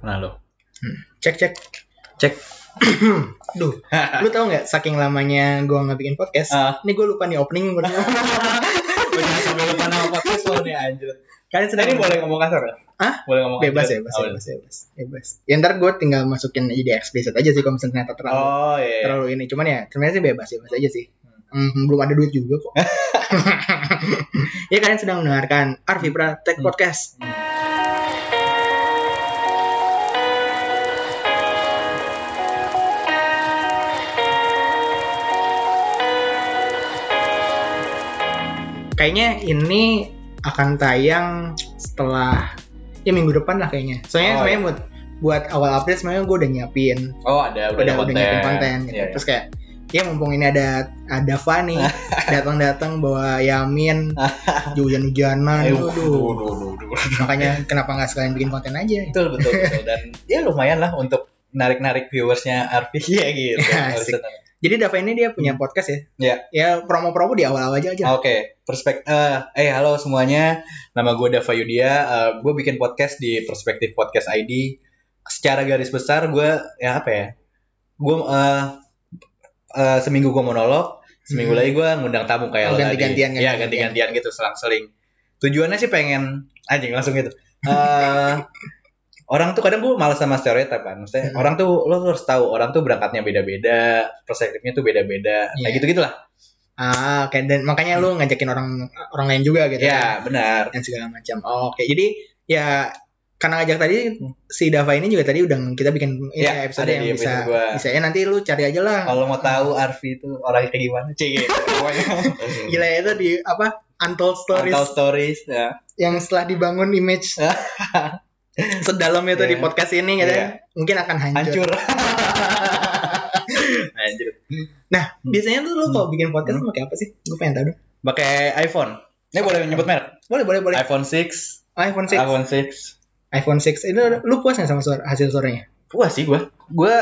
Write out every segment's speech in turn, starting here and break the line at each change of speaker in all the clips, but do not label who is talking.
Nah lo.
Cek cek.
Cek.
Duh, lu tau nggak saking lamanya gua nggak bikin podcast?
Ah.
Ini gua lupa nih opening. gua.
Udah sampai lupa nama podcast lo nih anjir.
Kalian sedang
Nah, Ini boleh ngomong kasar ya?
Hah?
Boleh ngomong
bebas
kasar?
ya, bebas,
Oh,
bebas, bebas, bebas. Ya ntar gue tinggal masukin ide eksplisit aja sih kalau misalnya ternyata terlalu,
Oh iya. iya.
terlalu ini. Cuman ya sebenarnya sih bebas, bebas aja sih. Mhm, belum ada duit juga kok. ya kalian sedang mendengarkan Arvibra Tech
Hmm.
Podcast. Kayaknya ini akan tayang setelah ya minggu depan lah kayaknya. Soalnya
Oh,
sebenarnya buat, buat awal April sebenarnya gue udah nyiapin
Oh ada udah, ada
udah udah
konten.
nyiapin konten gitu.
Iya, iya.
terus kayak ya mumpung ini ada ada Fani datang-datang bawa Yamin hujan-hujanan
Ayo,
aduh
duh, duh, duh, duh.
makanya kenapa nggak sekalian bikin konten aja
Betul betul betul dan ya lumayan lah untuk narik-narik viewersnya Arfi ya gitu.
Ya, asik. jadi Dava ini dia punya podcast ya
Iya. Ah.
ya promo-promo di awal-awal aja aja
Oke, perspektif. eh, halo semuanya. Nama gue Dava Yudia. Eh, gue bikin podcast di Perspektif Podcast ID. Secara garis besar, gue ya apa ya? Gue eh, eh, seminggu gue monolog, seminggu
Hmm.
lagi gue ngundang tamu kayak lo
Oh,
tadi.
ganti-gantian,
Ya,
ganti-gantian.
ganti-gantian gitu, selang-seling. Tujuannya sih pengen anjing langsung gitu. Eh, orang tuh kadang gue malas sama stereotip kan. Maksudnya
Hmm.
orang tuh lo tuh harus tahu orang tuh berangkatnya beda-beda, perspektifnya tuh beda-beda. Kayak
Iya.
gitu gitulah.
ah oke dan makanya lu ngajakin orang orang lain juga gitu
Ya, benar.
dan segala macam oh, oke jadi ya karena ngajak tadi si Dava ini juga tadi udah kita bikin ini
Ya, Hmm.
episode
ada
yang
di episode
bisa
gua.
bisa ya nanti lu cari aja lah
Kalau mau tahu Arfi itu orangnya kayak gimana? Cie. gitu. Pokoknya.
gila ya, itu di apa untold stories
Tahu stories. Ya.
yang setelah dibangun image sedalam itu
Iya.
di podcast ini gitu
Iya.
ya, mungkin akan hancur.
Hancur. Hancur.
Nah, Biasanya tuh lu kalau bikin podcast lu pakai apa sih? Gue pengen tahu dong.
Pakai iPhone. Ini boleh nyebut merek.
Boleh, boleh, boleh.
iPhone 6,
iPhone 6.
iPhone 6.
iPhone 6. Itu lu puas nggak sama suara, hasil suaranya?
Puas sih gua. Gua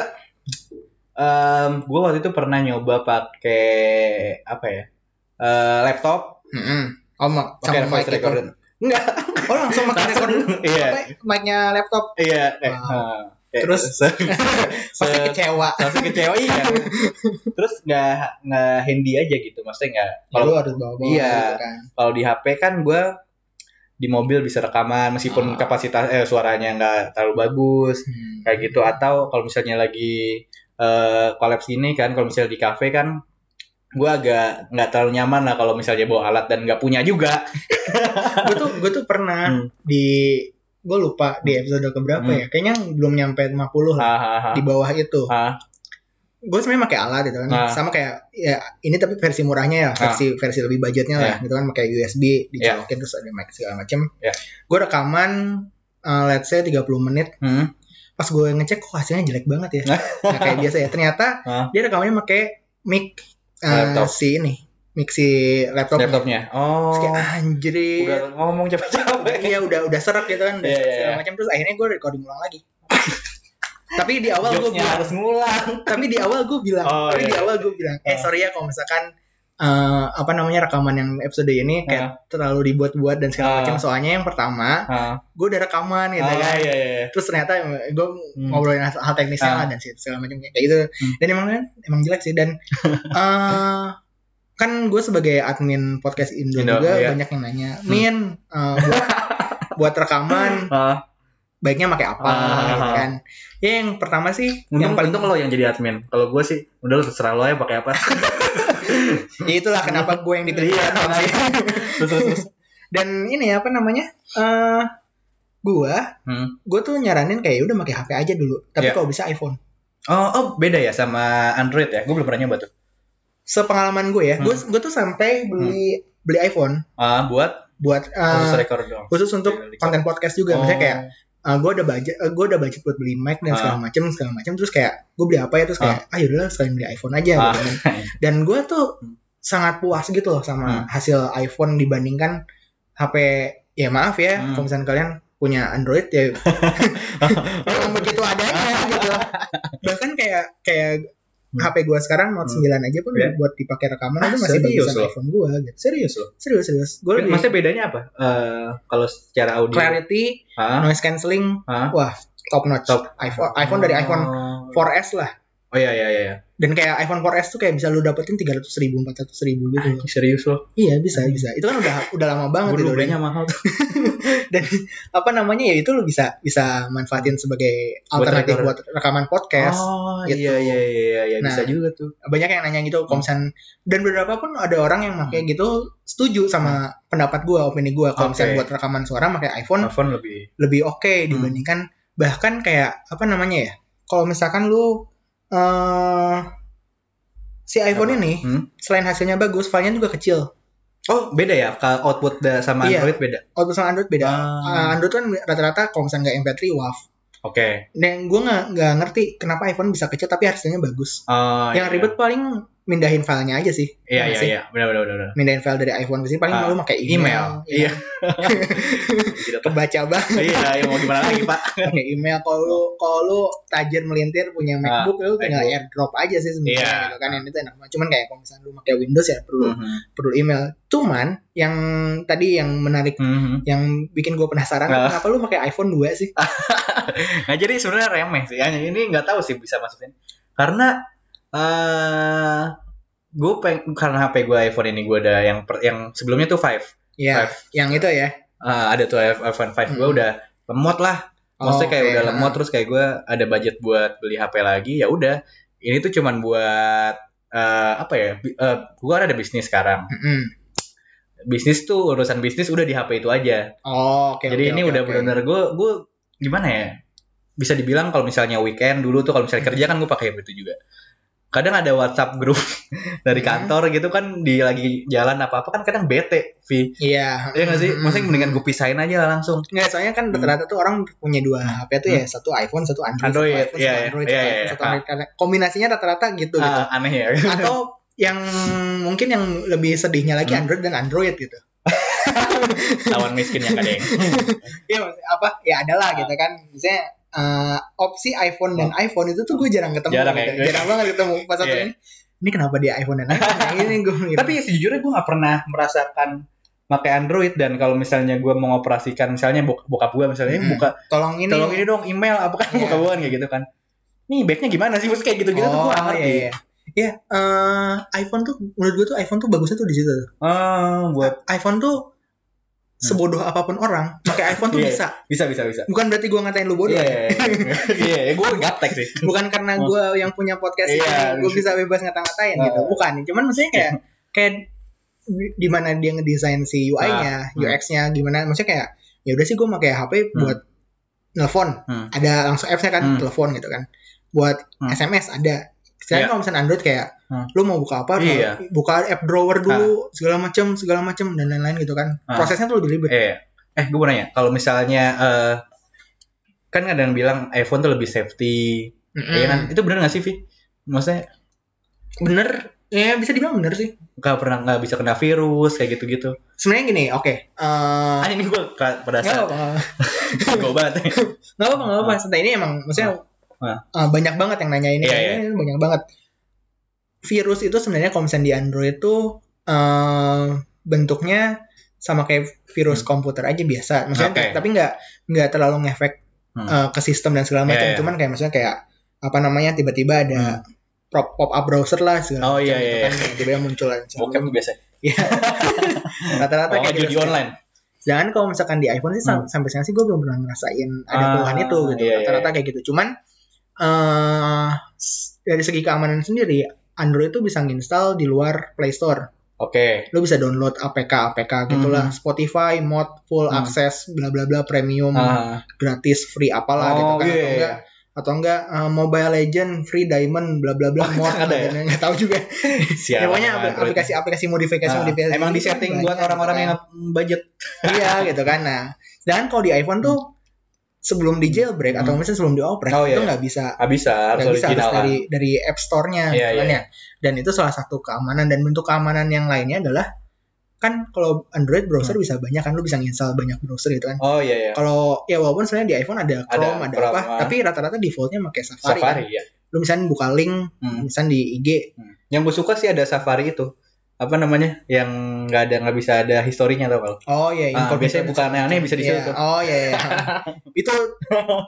em gua waktu itu pernah nyoba pakai apa ya? Eh, laptop
Heeh. Oh, mak-
pakai
sama mic
voice
itu.
recorder.
Enggak. Oh, langsung pakai recorder.
Iya.
Pakai mic-nya laptop.
Iya. eh,
Wow.
eh, eh,
Terus?
se-
Pasti
se-
kecewa.
langsung kecewa iya terus nggak nggak handy aja gitu maksudnya nggak
Ya, lu
kalau
harus bawa-bawa
Iya.
gitu kan.
kalau di HP kan gue di mobil bisa rekaman meskipun
Ah.
kapasitas eh suaranya nggak terlalu bagus
Hmm.
kayak gitu atau kalau misalnya lagi eh collab ini kan kalau misalnya di cafe kan gue agak nggak terlalu nyaman lah kalau misalnya bawa alat dan nggak punya juga
gue tuh gue tuh pernah
Hmm.
di gue lupa di episode keberapa
Hmm.
ya kayaknya belum nyampe 50 lah
hahaha
di bawah itu
Ah.
gue sebenarnya pakai alat gitu kan
Ah.
sama kayak ya ini tapi versi murahnya ya versi versi lebih budgetnya lah gitu kan pakai USB dijolokin terus ada mic segala macem
Ya.
gue rekaman eh, let's say 30 menit
hmm.
pas gue ngecek kok hasilnya jelek banget ya Nah, kayak biasa ya ternyata
Ah.
dia rekamannya pakai mic eh,
Laptop.
si ini mic si laptop,
laptopnya oh
Terus kayak anjir
udah ngomong capek-capek
Iya udah udah serak gitu kan udah
Iya, iya,
segala
iya.
macam terus akhirnya gue recording ulang lagi. tapi di awal gue
Jokesnya
bilang,
harus ngulang
tapi di awal gue bilang,
Oh,
tapi
iya.
di awal gue bilang, eh
Ah.
sorry ya kalau misalkan eh, apa namanya rekaman yang episode ini kayak terlalu dibuat-buat dan
Ah.
segala macam. Soalnya yang pertama
Ah.
gue udah rekaman gitu
Ah,
kan.
iya, iya, iya.
Terus ternyata gue
Hmm.
ngobrolin hal, hal teknisnya
Ah.
lah dan segala macam kayak gitu.
Hmm.
Dan emang emang jelek sih dan eh, kan gue sebagai admin podcast Indo,
Indo,
juga
iya.
banyak yang nanya, Min eh, buat buat rekaman
Ah.
baiknya pakai apa
Ah.
gitu kan. Ya yang pertama sih yang
Untung,
paling
untung lo yang jadi admin. Kalau gue sih udah lo terserah lo aja pakai apa.
ya itulah kenapa gue yang dipilih.
Iya,
Kenapa
makanya.
sih?
terus terus. terus.
Dan ini apa namanya? Eh gua
Hmm.
gue tuh nyaranin kayak udah pakai HP aja dulu, tapi
Iya.
kalau bisa iPhone.
Oh, oh beda ya sama Android ya. Gue belum pernah nyoba tuh.
Sepengalaman gue ya, gue
Hmm.
gue tuh sampai beli beli iPhone
Ah, buat
buat eh,
Ah, khusus record Oh. dong.
khusus untuk konten podcast juga, misalnya kayak gue udah Ah, budget gue udah budget buat beli mic
Ah.
dan segala macam segala macam terus kayak gue beli apa ya terus kayak ah yaudah lah sekalian beli iPhone aja
Ah.
gitu kan. dan gue tuh sangat puas gitu loh
Hmm.
sama hasil iPhone dibandingkan HP ya maaf ya
Hmm.
kalau misalnya kalian punya Android ya memang begitu adanya gitu bahkan kayak kayak
Hmm.
HP gue sekarang Note 9 aja pun
Iya.
buat dipakai rekaman
Ah,
itu masih
serius
bagusan
loh?
iPhone gue gitu
serius lo.
serius serius gue lebih
Maksudnya bedanya apa? Eh, kalau secara audio.
clarity
Ah,
noise cancelling
ah.
wah top notch.
Top. Ah.
iPhone iPhone dari iPhone 4S lah.
Oh iya iya iya.
Dan kayak iPhone 4S tuh kayak bisa lu dapetin 300 ribu, 400 ribu gitu.
Anjing, serius loh.
Iya bisa bisa. Itu kan udah udah lama banget
Gue
itu.
dulu belinya mahal.
Dan apa namanya ya itu lu bisa bisa manfaatin sebagai
Buat
alternatif
rekor-
buat rekaman podcast.
Oh
gitu.
iya iya iya iya, iya. bisa
Nah.
juga tuh.
Banyak yang nanya gitu
Hmm.
kalau misalnya- dan beberapa pun ada orang yang pakai gitu setuju sama pendapat gua, opini gua
Hmm. Oke.
kalau misalnya buat rekaman suara pakai iPhone
iPhone lebih.
lebih oke
Hmm.
dibandingkan bahkan kayak apa namanya ya? Kalau misalkan lu eh si iPhone ini
Hmm?
selain hasilnya bagus, filenya juga kecil.
Oh beda ya. Kalau output da- sama
Iya.
Android beda.
Kalau sama Android beda. Eh,
Ah.
Android kan rata-rata kalau misalnya nggak MP3 WAV.
Oke.
Dan gue nggak nggak ngerti kenapa iPhone bisa kecil tapi hasilnya bagus.
Ah,
yang
iya.
ribet paling mindahin filenya aja sih.
Iya iya
sih.
iya. Benar benar benar. benar.
Mindahin file dari iPhone ke sini paling
Ah,
malu pakai email.
Email.
ya.
Iya. Tidak tahu.
Kebaca banget
Iya, ya mau gimana lagi pak?
pakai email. Kalau lu kalau lu tajir melintir punya MacBook lu tinggal
Ah, MacBook.
AirDrop aja sih sebenarnya
Iya. Hmm.
gitu kan. Yang itu enak banget. Cuman kayak kalau misalnya lu pakai Windows ya perlu perlu email. Cuman yang tadi yang menarik
Mhm.
yang bikin gue penasaran
Ah.
kenapa lu pakai iPhone 2 sih?
Nah jadi sebenarnya remeh sih. Yang ini nggak tahu sih bisa masukin. Karena eh gue peng karena HP gue iPhone ini gue ada yang per- yang sebelumnya tuh 5
Iya, yang itu
Eh,
ya.
ada tuh iPhone 5 gue
Hmm.
udah lemot lah. Maksudnya kayak
Oke,
udah
ah.
lemot terus kayak gue ada budget buat beli HP lagi ya udah. Ini tuh cuman buat eh apa ya? Bi- eh, gue kan ada bisnis sekarang.
Mm-mm.
Bisnis tuh urusan bisnis udah di HP itu aja.
Oh, oke.
Jadi
oke,
ini
oke,
udah
oke.
benar-benar gue gue gimana ya? Bisa dibilang kalau misalnya weekend dulu tuh kalau misalnya kerja kan gue pakai HP itu juga. Kadang ada WhatsApp grup dari
Hmm.
kantor gitu kan di lagi jalan apa apa kan kadang bete, Vi.
Iya.
Iya nggak sih?
Mm-mm.
Maksudnya mendingan gue pisahin aja lah langsung.
Nggak, soalnya kan rata-rata tuh orang punya dua HP tuh ya, satu iPhone, satu Android,
Android,
satu iPhone,
iya,
satu
iya,
Android,
iya, iya,
satu iPhone, satu
iya.
Android. Karena Kombinasinya rata-rata gitu, gitu.
Ah, aneh ya.
Atau yang mungkin yang lebih sedihnya lagi
Hmm.
Android dan Android gitu.
Lawan miskin yang kadang.
Iya, maksudnya apa? Ya adalah gitu kan. Misalnya eh, opsi iPhone dan iPhone itu tuh gue jarang ketemu.
Hmm. Jarang
gitu.
ya, gue.
Jarang banget ketemu pas satu
Iya.
ini. Ini kenapa dia iPhone dan iPhone? Nah, ini gue mikir.
Tapi sejujurnya gue nggak pernah merasakan pakai Android dan kalau misalnya gue mengoperasikan misalnya bok- bokap gue misalnya "Eh,
Hmm.
buka
tolong ini.
tolong ini dong email apa kan
Iya.
buka bukan kayak gitu kan nih backnya gimana sih Maksudnya kayak gitu gitu tuh gue
Oh,
ngerti
iya, iya. Iya, eh, iPhone tuh menurut gue tuh iPhone tuh bagusnya tuh di situ.
Ah, buat Hmm.
iPhone tuh sebodoh apapun orang pakai iPhone tuh
Iya.
bisa
bisa bisa bisa
bukan berarti gue ngatain lu bodoh
Iya,
ya.
iya, iya, iya, gue gaptek sih.
bukan karena gue yang punya podcast
Oh. Iya.
ini gue bisa bebas ngata-ngatain
Nah.
gitu bukan cuman maksudnya kayak kayak di di mana dia ngedesain si
Nah,
UI-nya,
hmm.
UX-nya gimana maksudnya kayak ya udah sih gue pakai HP
Hmm.
buat nelpon
Hmm.
ada langsung apps-nya kan
Hmm.
telepon gitu kan buat
Hmm.
SMS ada Selain
Iya.
kalau misalnya Android kayak
Hmm.
lu mau buka apa lu
Iya.
buka app drawer dulu segala macam segala macam dan lain-lain gitu kan
Ah.
prosesnya tuh lebih ribet
Eh, eh, gue mau nanya, kalau misalnya eh kan ada yang bilang iPhone tuh lebih safety,
Mm-mm.
ya kan? Itu bener gak sih, Vi? Maksudnya
bener ya bisa dibilang bener sih
gak pernah nggak bisa kena virus kayak gitu-gitu.
sebenarnya gini oke eh ya,
Ah, ini gue pada
nggak
saat
apa
gue banget.
nggak apa nggak apa santai ini emang maksudnya
Ah.
eh, banyak banget yang nanya ini kan.
Iya,
Ini banyak banget virus itu sebenarnya kalau misalnya di Android tuh eh, bentuknya sama kayak virus komputer aja biasa maksudnya
Hmm. Oke.
tapi nggak nggak terlalu ngefek
Hmm.
eh, ke sistem dan
Iya,
segala macam
iya. Hmm.
cuman kayak maksudnya kayak apa namanya tiba-tiba ada pop pop up browser lah segala
Oh,
macam
iya,
gitu
iya,
kan, yang tiba-tiba muncul dan segala
Bokep tuh biasa. Oh, iya
macam.
Kalau
rata-rata kayak
nggak
gitu
judi
sih.
online.
Jangan kalau misalkan di iPhone sih sam- sampai sekarang sih gue belum pernah ngerasain ada
Hmm. Ah,
keluhan itu gitu.
iya, iya.
Rata-rata kayak gitu. Cuman eh s- dari segi keamanan sendiri Android itu bisa nginstal di luar Play Store.
Oke.
Lo bisa download APK APK gitulah, Spotify, mod, full
Hmm.
access, bla bla bla, premium,
Ah,
gratis, free apalah gitu kan.
iya,
Atau enggak atau enggak eh, Mobile Legend, free diamond, bla bla bla,
Oh,
mod,
ada ya?
dan nggak tahu juga.
Sialan,
Ya, pokoknya apl-
Android.
aplikasi-aplikasi modifikasi
Ah,
modifikasi.
emang di setting buat orang-orang yang budget.
iya gitu kan nah dan kalau di iPhone tuh sebelum di jailbreak atau
Hmm.
misalnya sebelum dioprek
Oh, iya.
itu nggak bisa
Ah, bisa, harus
nggak bisa harus
original. ah. kan?
dari dari App Store-nya
Iya,
gitu kan
iya.
ya dan itu salah satu keamanan dan bentuk keamanan yang lainnya adalah kan kalau Android browser
Hmm.
bisa banyak kan lu bisa install banyak browser gitu kan
Oh iya iya.
kalau ya walaupun sebenarnya di iPhone ada Chrome ada,
Chrome,
apa
ah.
tapi rata-rata defaultnya pakai Safari, kan.
Safari ya.
lu misalnya buka link
Hmm.
misalnya di IG
Yang gue suka sih ada Safari itu. apa namanya yang nggak ada nggak bisa ada historinya atau kalau
Oh iya,
Ah, biasanya bukan aneh-aneh bisa di situ
Iya.
tuh.
Oh iya, iya. itu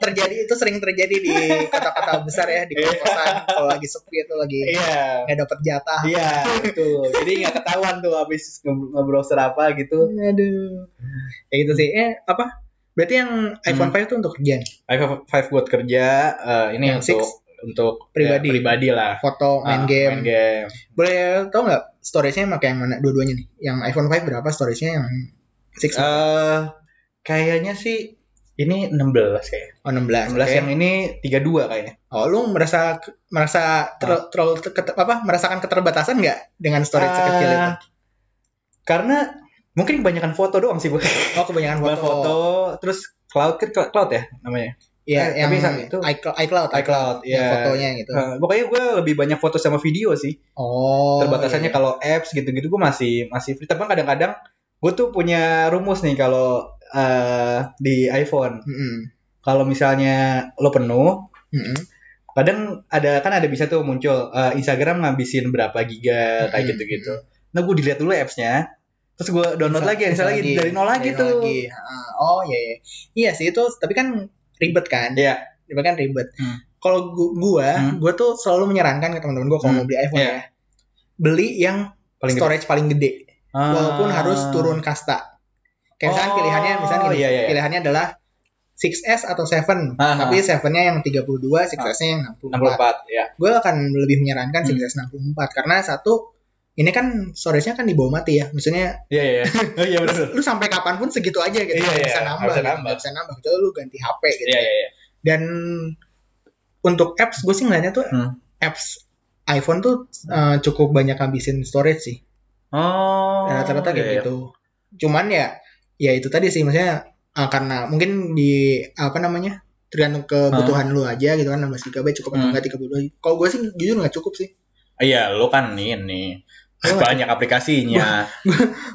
terjadi itu sering terjadi di kota-kota besar ya di kota-kota kalau lagi sepi itu lagi
Iya.
nggak dapet jatah.
Iya, betul. Jadi nggak ketahuan tuh habis nge- nge-browser apa gitu.
Aduh. Ya gitu sih. Eh apa? Berarti yang iPhone
Hmm.
5 itu untuk kerjaan,
iPhone 5 buat kerja, eh, ini
Yang
untuk
six?
untuk
Pribadi.
ya, pribadi lah.
foto, main
Ah,
game.
Main game.
Boleh tau nggak storage-nya pakai yang mana? Dua-duanya nih. Yang iPhone 5 berapa storage-nya? Yang 6
Eh, kayaknya sih ini 16 kayaknya.
oh, 16.
16
oke.
yang ini 32 kayaknya.
Oh, lu merasa merasa ter- terlalu ter- keter- apa merasakan keterbatasan nggak dengan storage
Ah,
sekecil itu?
Karena mungkin kebanyakan foto doang sih gue.
Oh, kebanyakan foto.
Foto. foto, terus cloud kan cloud cloud ya namanya.
Iya,
Eh,
yang
tapi sama itu.
itu iCloud, iCloud,
iCloud,
yang
iya.
fotonya gitu.
Eh, pokoknya gue lebih banyak foto sama video sih.
Oh.
Terbatasannya
iya.
kalau apps gitu-gitu gue masih masih free. Tapi kadang-kadang gue tuh punya rumus nih kalau eh, di iPhone.
Mm-mm,
Kalau misalnya lo penuh,
mm-mm.
kadang ada kan ada bisa tuh muncul eh, Instagram ngabisin berapa giga kayak
Hmm.
gitu-gitu. Nah gue dilihat dulu appsnya, terus gue download
Bisa-
lagi,
bisa
install lagi dari nol lagi
dari
tuh.
nol lagi. Ah, oh iya, iya. Iya sih itu, tapi kan ribet kan?
Iya.
Ribet kan ribet.
Hmm.
Kalau gu- gua,
Hmm.
gua tuh selalu menyarankan ke teman-teman gua kalau
Hmm.
mau beli iPhone
Iya.
ya, beli yang
Paling gede.
storage paling gede,
Ah.
walaupun harus turun kasta. Kayak misalkan
Oh,
pilihannya, misalnya gini,
iya, iya, iya.
pilihannya adalah 6S atau 7,
Ah,
tapi 7-nya yang 32, 6S-nya yang
64
64.
ya.
gue akan lebih menyarankan
Hmm.
664 karena satu ini kan storage-nya kan di bawah mati ya maksudnya
Iya iya. Iya iya betul.
lu sampai kapanpun segitu aja gitu
Iya,
nggak
iya,
bisa
nggak
nambah
bisa
gitu.
nambah.
Nggak bisa nambah kecuali lu ganti HP gitu
Iya iya iya.
dan untuk apps gue sih ngeliatnya tuh
Hmm.
apps iPhone tuh eh, cukup banyak habisin storage sih
Oh.
Ya, rata-rata kayak
iya, iya.
gitu cuman ya ya itu tadi sih maksudnya eh, karena mungkin di apa namanya tergantung kebutuhan lu aja gitu kan 16 GB cukup atau
Hmm.
enggak 32 kalau gue sih jujur nggak cukup sih
Iya, lo kan ini
Gua nggak
banyak aplikasinya.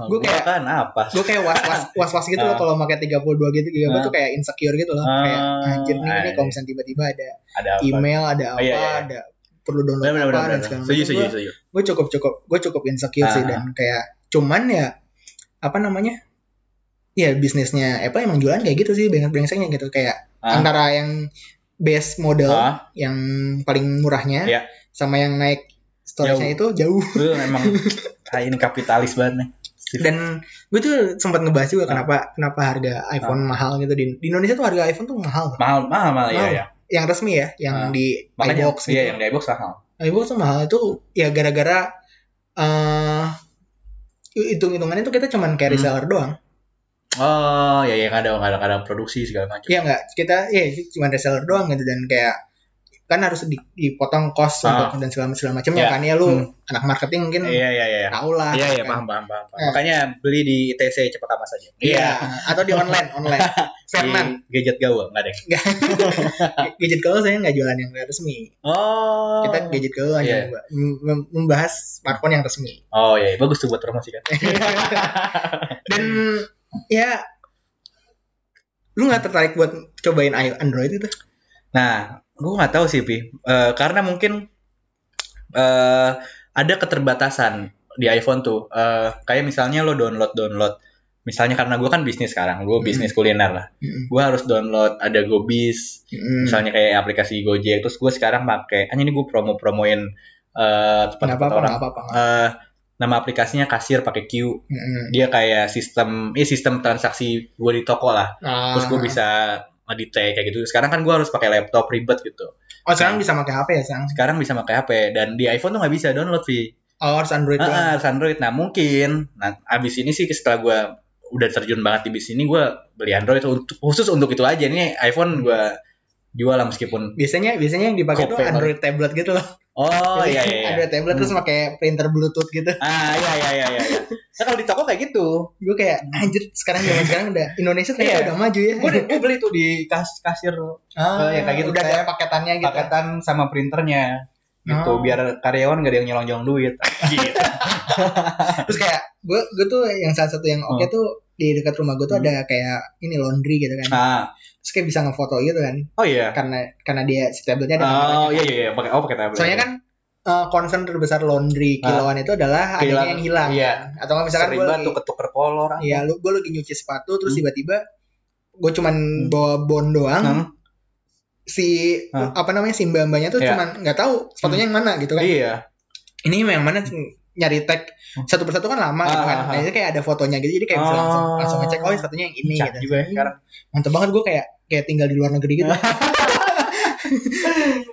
gua kayak-
kan apa?
gue kayak was was was was gitu loh
Ah.
kalau pakai 32 gitu juga gue
Ah.
tuh kayak insecure gitu loh
Ah.
kayak anjir nih ini
Ah,
kalau misalnya tiba-tiba ada
Ada apa?
email ada apa
Oh, iya, iya.
ada perlu
Benar
download
benar
apa
benar.
dan segala
Setuju setuju
macam
setuju.
gue cukup cukup gue cukup insecure sih
Ah.
dan kayak cuman ya apa namanya ya bisnisnya Apple emang jualan kayak gitu sih banyak brengseknya gitu kayak
Ah.
antara yang base model
Ah,
yang paling murahnya
Iya.
sama yang naik storage-nya itu jauh
lu emang ah, ini kapitalis banget nih.
Gitu. dan gue tuh sempat ngebahas juga
Ah.
kenapa kenapa harga iPhone mahal gitu di, di Indonesia tuh harga iPhone tuh mahal
Mahal mahal mahal ya
Mahal.
ya.
yang resmi ya
Ah.
yang di
Makanya iya
iBox gitu
yang di iBox mahal.
iBox tuh mahal itu ya gara-gara eh hitung-hitungannya tuh kita cuman
Hmm.
kayak reseller doang
Oh, ya ya nggak ada nggak ada, nggak ada produksi segala macam.
ya enggak kita ya cuman reseller doang gitu dan kayak kan harus di- dipotong cost
Ah.
untuk dan segala, segala macamnya
Iya.
kan ya lu
Hmm.
anak marketing mungkin
Iya iya iya.
tau lah
Iya iya
kan.
paham paham paham. paham.
Eh.
Makanya beli di ITC cepat amat saja.
Iya, atau di online, online.
Iya. Di
Fairman,
gadget gawe nggak ada. yang-
gadget kalau saya nggak jualan yang resmi.
Oh.
kita gadget dulu hanya
Iya.
memba- mem- mem- membahas smartphone yang resmi
Oh iya, bagus tuh buat promosi kan.
dan ya lu nggak tertarik buat cobain i- Android itu
Nah, gue nggak tahu sih, Pi. Eh, karena mungkin eh ada keterbatasan di iPhone tuh. Eh, kayak misalnya lo download download. Misalnya karena gue kan bisnis sekarang, gue bisnis kuliner lah. Gue harus download ada GoBiz,
Mm.
misalnya kayak aplikasi Gojek. Terus gue sekarang pakai, hanya ini gue promo-promoin eh tempat
nggak apa-apa
orang.
nggak apa-apa nggak-
Eh, nama aplikasinya kasir pakai Q.
Mm.
Dia kayak sistem, eh, sistem transaksi gue di toko lah.
Ah.
terus gue bisa ngedetect kayak gitu. Sekarang kan gue harus pakai laptop ribet gitu.
oh sekarang bisa pakai HP ya sekarang
Sekarang bisa pakai HP dan di iPhone tuh nggak bisa download sih.
oh harus Android doang
Ah, harus Android. Nah mungkin, nah abis ini sih setelah gue udah terjun banget di bisnis ini gue beli Android untuk khusus untuk itu aja. Ini iPhone gue jual lah meskipun.
biasanya biasanya yang dipakai tuh
Kopek,
Android tablet gitu loh
Oh
Jadi
iya iya. iya.
Android tablet terus
Hmm.
pakai printer Bluetooth gitu
Ah iya iya iya. iya. iya. Nah kalau di toko kayak gitu,
gue kayak anjir sekarang zaman sekarang udah Indonesia ternyata
Iya.
udah maju ya
gue beli tuh di kas kasir
ah,
ya, kayak gitu.
udah ada
Kayak
paketannya gitu
paketan sama printernya gitu
Oh.
biar karyawan gak ada yang nyolong-nyolong duit. Gitu.
terus kayak gue gue tuh yang salah satu yang
Hmm.
oke tuh di dekat rumah gue tuh
Hmm.
ada kayak ini laundry gitu kan
Ah,
terus kayak bisa ngefoto gitu kan
oh iya.
karena karena dia si tabletnya ada
Oh
kameranya.
iya iya iya pakai oh pakai tablet.
soalnya kan eh, concern terbesar laundry
Ah.
kilauan itu adalah
Kehilangan-
adanya yang hilang.
iya.
Atau nggak misalkan
Sering
gue
banget
lagi,
tuh ketuker kolor. apa.
ya, lu, gue lagi nyuci sepatu terus
Hmm.
tiba-tiba gue cuman
Hmm.
bawa bon doang.
Hmm.
Si
Ah.
apa namanya si mbak-mbaknya tuh
Iya.
cuman nggak tahu sepatunya yang mana gitu kan.
Iya.
Ini yang mana nyari tag satu persatu kan lama gitu
Hmm. Ah,
kan.
ah, ah.
Nah, itu kayak ada fotonya gitu jadi kayak bisa langsung
Ah.
langsung ngecek oh sepatunya yang ini
Cak
gitu.
juga ya sekarang.
mantep banget gue kayak kayak tinggal di luar negeri gitu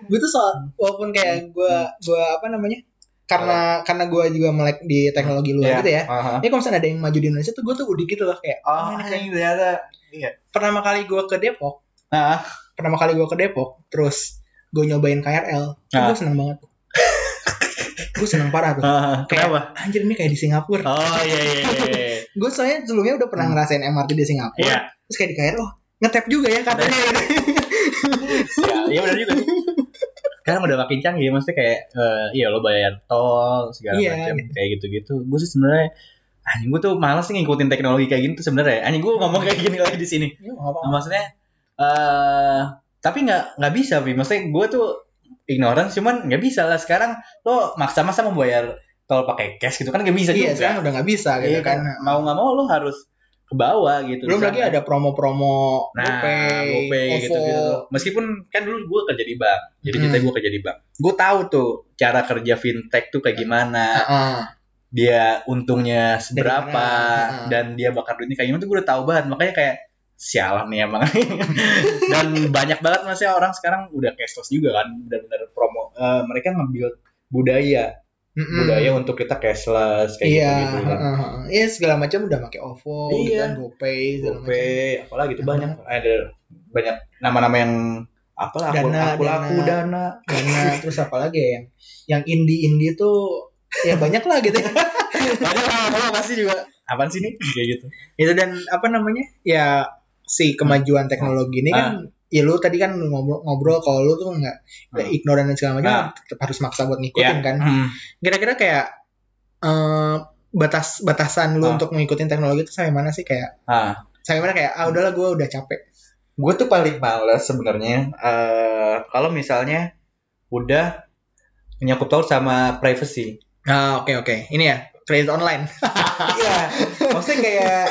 gue tuh soal walaupun
Hmm.
kayak gue gue apa namanya karena karena gue juga melek di
Iya.
teknologi luar gitu ya
Aha.
ya kalau misalnya ada yang maju di Indonesia tuh gue tuh udik gitu loh kayak
Oh,
ini
ini ternyata. Iya.
pertama kali gue ke Depok
Ah,
pertama kali gue ke Depok terus gue nyobain KRL gue
Ah.
seneng banget gue seneng parah tuh
ah, kenapa?
anjir ini kayak di Singapura
Oh iya iya iya, iya.
gue soalnya sebelumnya udah pernah
Hmm.
ngerasain MRT di Singapura
Iya.
terus kayak di KRL oh ngetep juga ya katanya
ya, iya benar juga sih. Sekarang udah makin canggih, maksudnya kayak eh, iya lo bayar tol segala
Iya.
macam kayak gitu-gitu. Gue sih sebenarnya anjing gue tuh malas sih ngikutin teknologi kayak gini tuh sebenarnya. Anjing gue ngomong kayak gini lagi di sini.
Iya, nggak apa-apa.
Nah, maksudnya eh tapi nggak nggak bisa, Bi. Maksudnya gue tuh ignorance cuman nggak bisa lah sekarang lo maksa-maksa membayar tol pakai cash gitu kan nggak bisa
iya
juga.
sekarang udah nggak bisa gitu
Iya
kan
kan. Mau nggak mau lo harus ke bawah gitu. Di
belum
sana.
lagi ada promo-promo
Nah,
GoPay,
GoPay
OVO.
gitu gitu. Meskipun kan dulu gue kerja di bank, jadi
Hmm.
kita gue kerja di bank. Gue tahu tuh cara kerja fintech tuh kayak gimana,
Heeh.
dia untungnya seberapa,
mana, ah.
dan dia bakar duitnya kayak gimana tuh gue udah tahu banget. Makanya kayak sialan nih emang. dan banyak banget maksudnya orang sekarang udah cashless juga kan, benar-benar promo. Eh, mereka ngambil budaya,
Mm-mm.
budaya untuk kita cashless kayak
Hmm. iya
gitu gitu.
heeh, heeh. iya segala macam udah pakai OVO
Iya.
gitu kan GoPay segala macam
GoPay, apalagi tuh
Apa?
banyak gitu. Eh, ada banyak nama-nama yang apalah aku
Dana,
aku laku
Dana.
dana.
karena terus apa lagi ya yang yang indie indie tuh ya banyak lah gitu
Ada lah, Oh, pasti juga. Apaan sih ini? Kayak gitu.
itu dan apa namanya ya si kemajuan teknologi ini kan ya lu tadi kan ngobrol ngobrol kalau lu tuh nggak
Hmm.
ignoran dan segala macam
Ah.
tetap harus maksa buat ngikutin kan
Hmm.
kira-kira kayak eh, batas batasan lu
Ah.
untuk ngikutin teknologi itu sampai mana sih kayak
Ah,
sampai mana kayak ah udahlah gue udah capek
gue tuh paling males sebenarnya eh, kalau misalnya udah menyangkut paut sama privacy.
ah oke oke ini ya kredit online
Iya, maksudnya kayak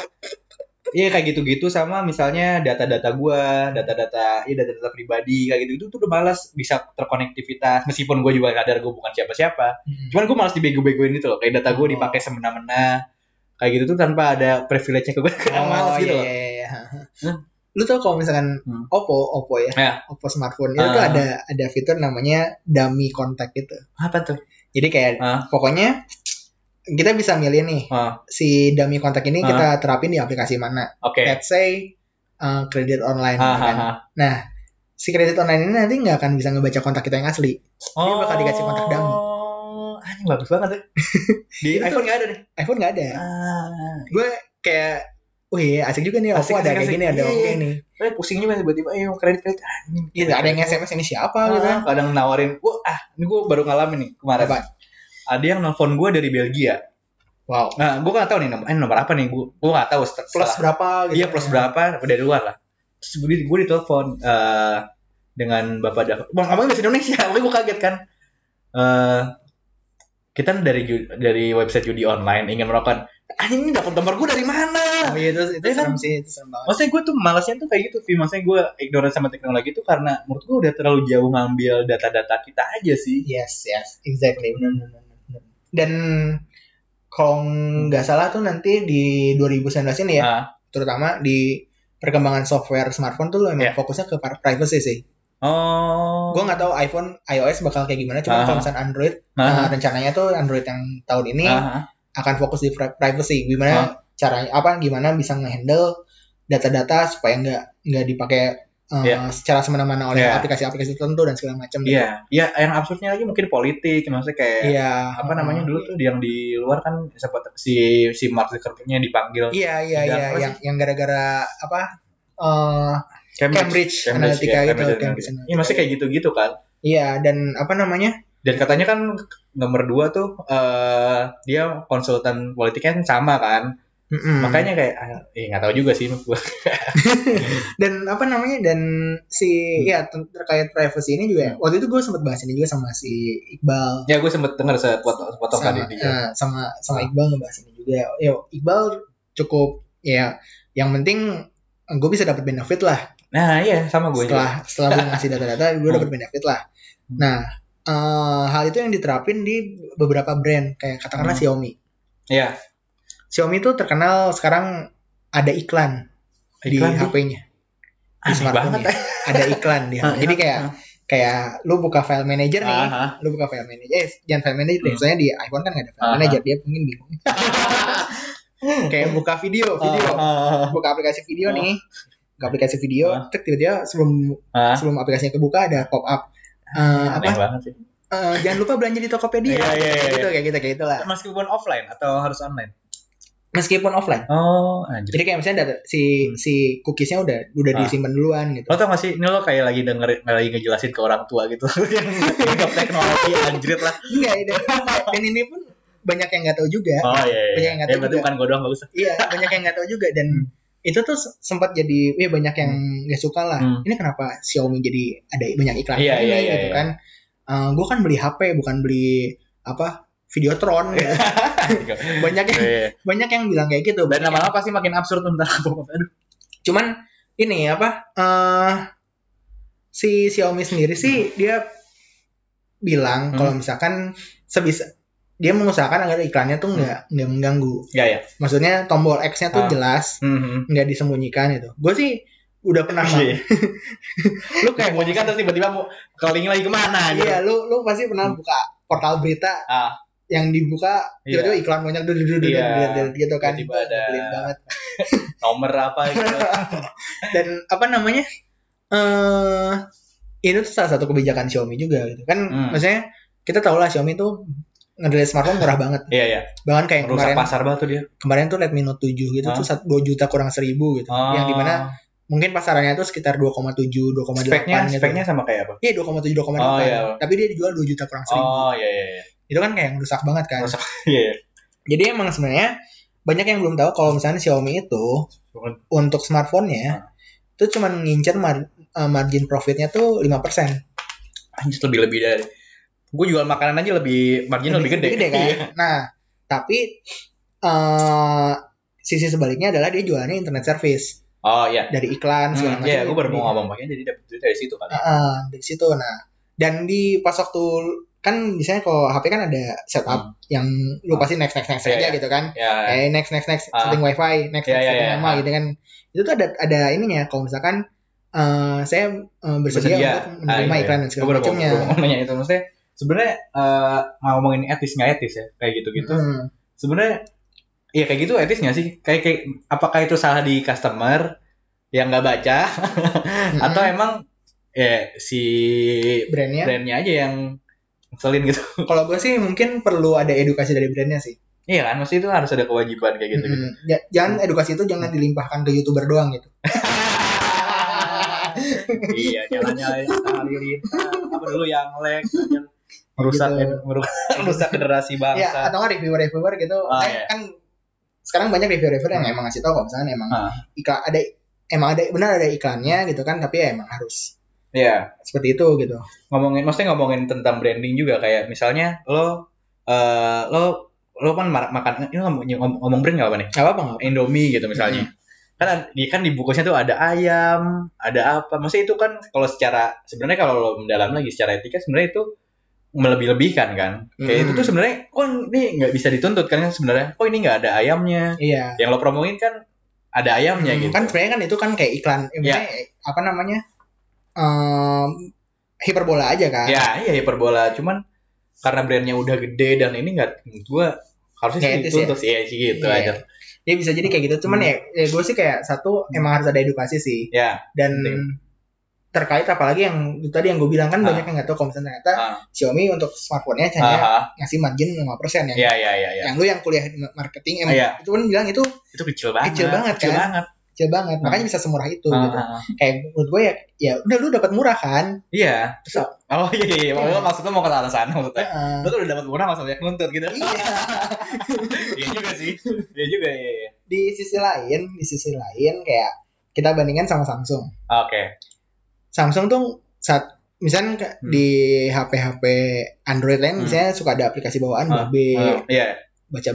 Iya kayak gitu-gitu sama misalnya data-data gua, data-data, iya data-data pribadi kayak gitu itu tuh udah malas bisa terkonektivitas meskipun gue juga sadar gue bukan siapa-siapa. cuman gue malas dibego-begoin gitu loh kayak data
Oh.
gue dipakai semena-mena kayak gitu tuh tanpa ada privilege-nya ke gue
oh,
oh, malas gitu
iya,
loh
iya, iya.
Hmm.
lu tau kalau misalkan
Hmm.
Oppo Oppo ya
Ya.
Oppo smartphone itu tuh
Ah.
ada ada fitur namanya dummy contact gitu
apa tuh
jadi kayak
Ah.
pokoknya kita bisa milih nih
Ah.
si dummy contact ini
Ah.
kita terapin di aplikasi mana
oke
let's say uh, kredit online
Ah,
kan.
ah, ah.
si kredit online ini nanti nggak akan bisa ngebaca kontak kita yang asli. Dia bakal dikasih kontak dummy.
Oh, anjing bagus banget tuh. Di
Itu tuh-
iPhone nggak ada nih.
iPhone nggak ada.
Ah,
Gue kayak, wih asik juga nih, Oppo
Asik,
ada
asik,
kayak
asik.
gini, ada
Iya,
Oppo
iya.
ini.
eh, pusing juga tiba-tiba, eh kredit kredit. Anjing,
Gitu, ada yang SMS ini siapa
Ah,
gitu.
kadang nawarin, wah, ah, ini gue baru ngalamin nih kemarin.
Apa?
Ada yang nelfon gue dari Belgia.
Wow.
Nah, gue nggak tahu nih nomor, eh, nomor apa nih gue, gue nggak tahu. set-
Plus
setelah-
berapa gitu.
Iya plus berapa dari luar lah. Terus gue, gue ditelepon eh, dengan bapak Dava. Bang abang bahasa Indonesia, makanya gue kaget kan. Eh, kita dari ju- dari website judi online ingin melakukan. Anjing ini dapat nomor gue dari mana?
Oh iya, itu, itu
Iya kan?
serem sih, itu serem banget.
Maksudnya gue tuh malasnya tuh kayak gitu, Vi. Maksudnya gue ignoran sama teknologi itu karena menurut gue udah terlalu jauh ngambil data-data kita aja sih.
Yes, yes, exactly. Benar, benar, benar, benar. Dan kalau nggak salah tuh nanti di 2019 ini ya,
Ah.
terutama di perkembangan software smartphone tuh emang
Iya.
fokusnya ke par- privacy sih.
oh.
Gue nggak tahu iPhone, iOS bakal kayak gimana, cuma
Aha.
kalau misalnya Android
Ah,
Nah, rencananya tuh Android yang tahun ini
ah,
akan fokus di pri- privacy. Gimana
Ah.
caranya apa gimana bisa ngehandle data-data supaya nggak nggak dipakai uh,
Iya.
secara semena-mena oleh
Iya.
aplikasi-aplikasi tertentu dan segala macam. gitu.
Iya, iya. Yang absurdnya lagi mungkin politik, maksudnya kayak
Iya.
apa namanya dulu tuh yang di luar kan sempat si si Mark Zuckerberg-nya dipanggil
Iya, iya,
Yang
iya,
apa
yang yang gara-gara apa eh,
ya, Cambridge
Cambridge, Analytica gitu,
Analytica.
Cambridge
Iya,
Analytica.
maksudnya kayak gitu-gitu kan.
Iya, dan apa namanya?
Dan katanya kan nomor dua tuh eh dia konsultan politiknya kan sama kan.
Mm-mm.
Makanya kayak ah, eh nggak tahu juga sih maksud gua.
dan apa namanya dan si
Hmm.
ya ter- terkait privacy ini juga ya. waktu itu gue sempat bahas ini juga sama si Iqbal
Ya gue sempet denger sepotong potong
sama,
tadi dia.
eh, sama sama
Ah.
Iqbal ngebahas ini juga ya Iqbal cukup ya yang penting gue bisa dapat benefit lah
Nah, iya sama gue juga.
setelah setelah gue ngasih data-data gue
Hmm.
dapat benefit lah nah eh, hal itu yang diterapin di beberapa brand kayak katakanlah
Hmm.
Xiaomi
Iya.
Xiaomi itu terkenal sekarang ada iklan, di
Iklan tuh
HP-nya di
aneh
smartphone
banget. ya.
ada iklan di HP. jadi kayak kayak lu buka file manager nih
Aha.
lu buka file manager eh jangan file manager
Ah.
deh.
Hmm. Ah.
soalnya di iPhone kan nggak ada file
Aha.
manager dia mungkin bingung kayak buka video video
Ah,
buka aplikasi video
Ah.
nih buka aplikasi video
Ah.
tek tiba-tiba sebelum
ah, ah.
sebelum aplikasinya kebuka ada pop up Eh, apa
Aneh banget sih.
Eh, jangan lupa belanja di Tokopedia.
Iya, iya, iya.
Gitu kayak gitu kayak gitulah.
Meskipun offline atau harus online?
Meskipun offline.
Oh, anjir.
Jadi kayak misalnya data,
Hmm.
si si cookiesnya udah udah
Ah.
disimpan duluan
Lo
gitu.
tau gak sih, ini lo kayak lagi denger, lagi ngejelasin ke orang tua gitu Yang nggak teknologi, anjrit lah
Enggak, dan, Iya, dan ini pun banyak yang nggak tahu juga.
Oh iya,
Banyak
iya,
yang
iya.
nggak
Ya,
tahu
berarti
juga.
bukan gue doang, gak usah
Iya, banyak yang nggak tahu juga dan itu tuh se- sempat jadi ya banyak yang nggak suka lah.
Hmm.
Ini kenapa Xiaomi jadi ada banyak iklan
Iya,
ini
iya, iya,
gitu
iya.
kan. gue kan beli HP bukan beli apa Videotron gitu. banyak yang
Iya, iya.
banyak yang bilang kayak gitu.
Dan
Banyak yang-
lama-lama pasti makin absurd ntar Aduh
cuman ini apa eh si Xiaomi sendiri sih dia bilang
Hmm.
kalau misalkan sebisa dia mengusahakan agar iklannya tuh nggak nggak mengganggu
Gak ya?
maksudnya tombol X-nya tuh
Ah.
jelas
Hmm.
nggak disembunyikan itu gue sih udah pernah
Iya.
lu
Kayak
kayak
bunyikan terus tiba-tiba mau calling lagi kemana gitu
iya lu lu pasti pernah buka portal berita
Hmm. Ah.
yang dibuka
Iya.
tiba-tiba iklan banyak duh, duh, duh, duh,
Iya.
duh, duh, duh, gitu kan
Tiba-tiba ada-
Nyebelin banget
Nomor apa gitu
dan apa namanya eh itu tuh salah satu kebijakan Xiaomi juga gitu kan
Hmm.
maksudnya kita tau lah Xiaomi tuh ngedrill smartphone murah banget
Iya, iya
bahkan kayak yang
Rusak
kemarin
pasar banget tuh dia
kemarin tuh Redmi Note 7 gitu
Hah? Ah.
tuh sat- 2 juta kurang 1000 gitu
Oh.
yang dimana mungkin pasarannya tuh sekitar 2,7 2,8
Speknya,
gitu
speknya sama kayak apa?
iya 2,7 2,8
Oh, iya.
tapi dia dijual 2 juta kurang 1000
Oh iya iya iya.
itu kan kayak rusak banget kan
Rusak. Iya iya.
jadi emang sebenarnya banyak yang belum tahu kalau misalnya Xiaomi itu
Bukan-
untuk
Ah.
smartphone-nya itu cuman ngincer mar- eh, margin profitnya tuh 5%
Anjir lebih lebih dari. Gue jual makanan aja lebih margin lebih, gede.
kan?
Iya.
Nah, tapi eh sisi sebaliknya adalah dia jualannya internet service
Oh iya.
dari iklan Ah, segala
Hmm,
macam. ya, Ah.
Iya, gue baru
Jadi-
mau ngomong makanya jadi dapet duit dari situ kan.
Heeh, dari situ. Nah, dan di pas waktu kan misalnya kalau HP kan ada setup yang lu pasti next next next
Hmm. Iya,
aja
iya.
gitu kan.
Ya.
Eh next next next
Ah.
setting wifi
Iya,
next next
iya,
setting
iya.
nama gitu kan. Itu tuh ada ada ininya kalau misalkan eh saya eh, bersedia, untuk
Ah,
menerima
iya, iya.
iklan dan segala
Gua baru mau-
macamnya.
baru mau nanya itu maksudnya sebenarnya eh mau ngomongin etis nggak etis ya kayak gitu-gitu.
Hmm.
Sebenarnya Iya kayak gitu etis nggak sih? Kayak kayak apakah itu salah di customer yang nggak baca atau
Mm-mm.
emang ya si
brandnya?
brandnya aja yang ngeselin gitu?
Kalau gue sih mungkin perlu ada edukasi dari brandnya sih.
Iya kan, maksudnya itu harus ada kewajiban kayak gitu.
Mm-mm. Ja- jangan edukasi itu jangan dilimpahkan ke youtuber doang gitu.
iya, jalannya tali lintas. Apa dulu yang lag, yang merusak
Gitu.
meru- merusak generasi
ya
bangsa.
atau nggak reviewer-reviewer gitu.
Ah,
kan,
iya. Hmm.
kan sekarang banyak reviewer-reviewer yang emang ngasih tahu kalau misalnya emang
Ah.
iklan ada emang ada benar ada iklannya gitu kan tapi ya emang harus
Iya,
seperti itu gitu.
ngomongin maksudnya ngomongin tentang branding juga kayak misalnya lo eh, lo lo kan mar- makan ini ngomong, ngomong, ngomong brand nggak apa nih?
Gak apa-apa nggak apa-apa.
Indomie gitu misalnya. Kan di kan di bungkusnya tuh ada ayam, ada apa? Maksudnya itu kan kalau secara sebenarnya kalau lo mendalam lagi secara etika sebenarnya itu melebih-lebihkan kan. Kayak
Hmm.
itu tuh sebenarnya kok ini nggak bisa dituntut kan sebenarnya. Kok ini nggak ada ayamnya?
Iya.
Yang lo promoin kan ada ayamnya gitu.
Kan sebenarnya kan itu kan kayak iklan ya, maksudnya, apa namanya? em, hiperbola aja kan.
ya iya hiperbola cuman karena brandnya udah gede dan ini nggak menurut gua harusnya
Kayak
sih
etis
dituntut sih ya sih gitu
Iya.
aja.
Ya bisa jadi kayak gitu. Cuman
Hmm.
ya, ya gue sih kayak satu emang harus ada edukasi sih.
Ya.
dan
Penting.
terkait apalagi yang itu tadi yang gue bilang kan
Ah.
banyak yang nggak tahu kalau misalnya ternyata
Ah.
Xiaomi untuk smartphone-nya hanya
Aha.
ngasih margin 5% ya.
Ya ya ya ya.
Yang lu yang kuliah di marketing emang
Iya.
itu kan bilang itu
Itu kecil banget.
Kecil banget,
Kecil
kan?
banget.
kecil banget,
Ah.
makanya bisa semurah itu
Ah,
gitu.
ah, ah.
Kayak menurut gue ya ya udah lu dapat murah kan.
Iya. Terus Oh iya iya, iya.
Iya.
Lo maksudnya mau ke arah sana maksudnya.
Heeh.
Lo tuh udah dapat murah langsung banyak nuntut gitu.
Iya.
Iya juga sih. Iya juga iya. iya.
Di sisi lain, di sisi lain kayak kita bandingkan sama Samsung.
Oke.
Samsung tuh saat misalnya ke-
Hmm.
di HP-HP Android lain
Hmm.
misalnya suka ada aplikasi bawaan
Ah,
babe
Eh, Iya.
baca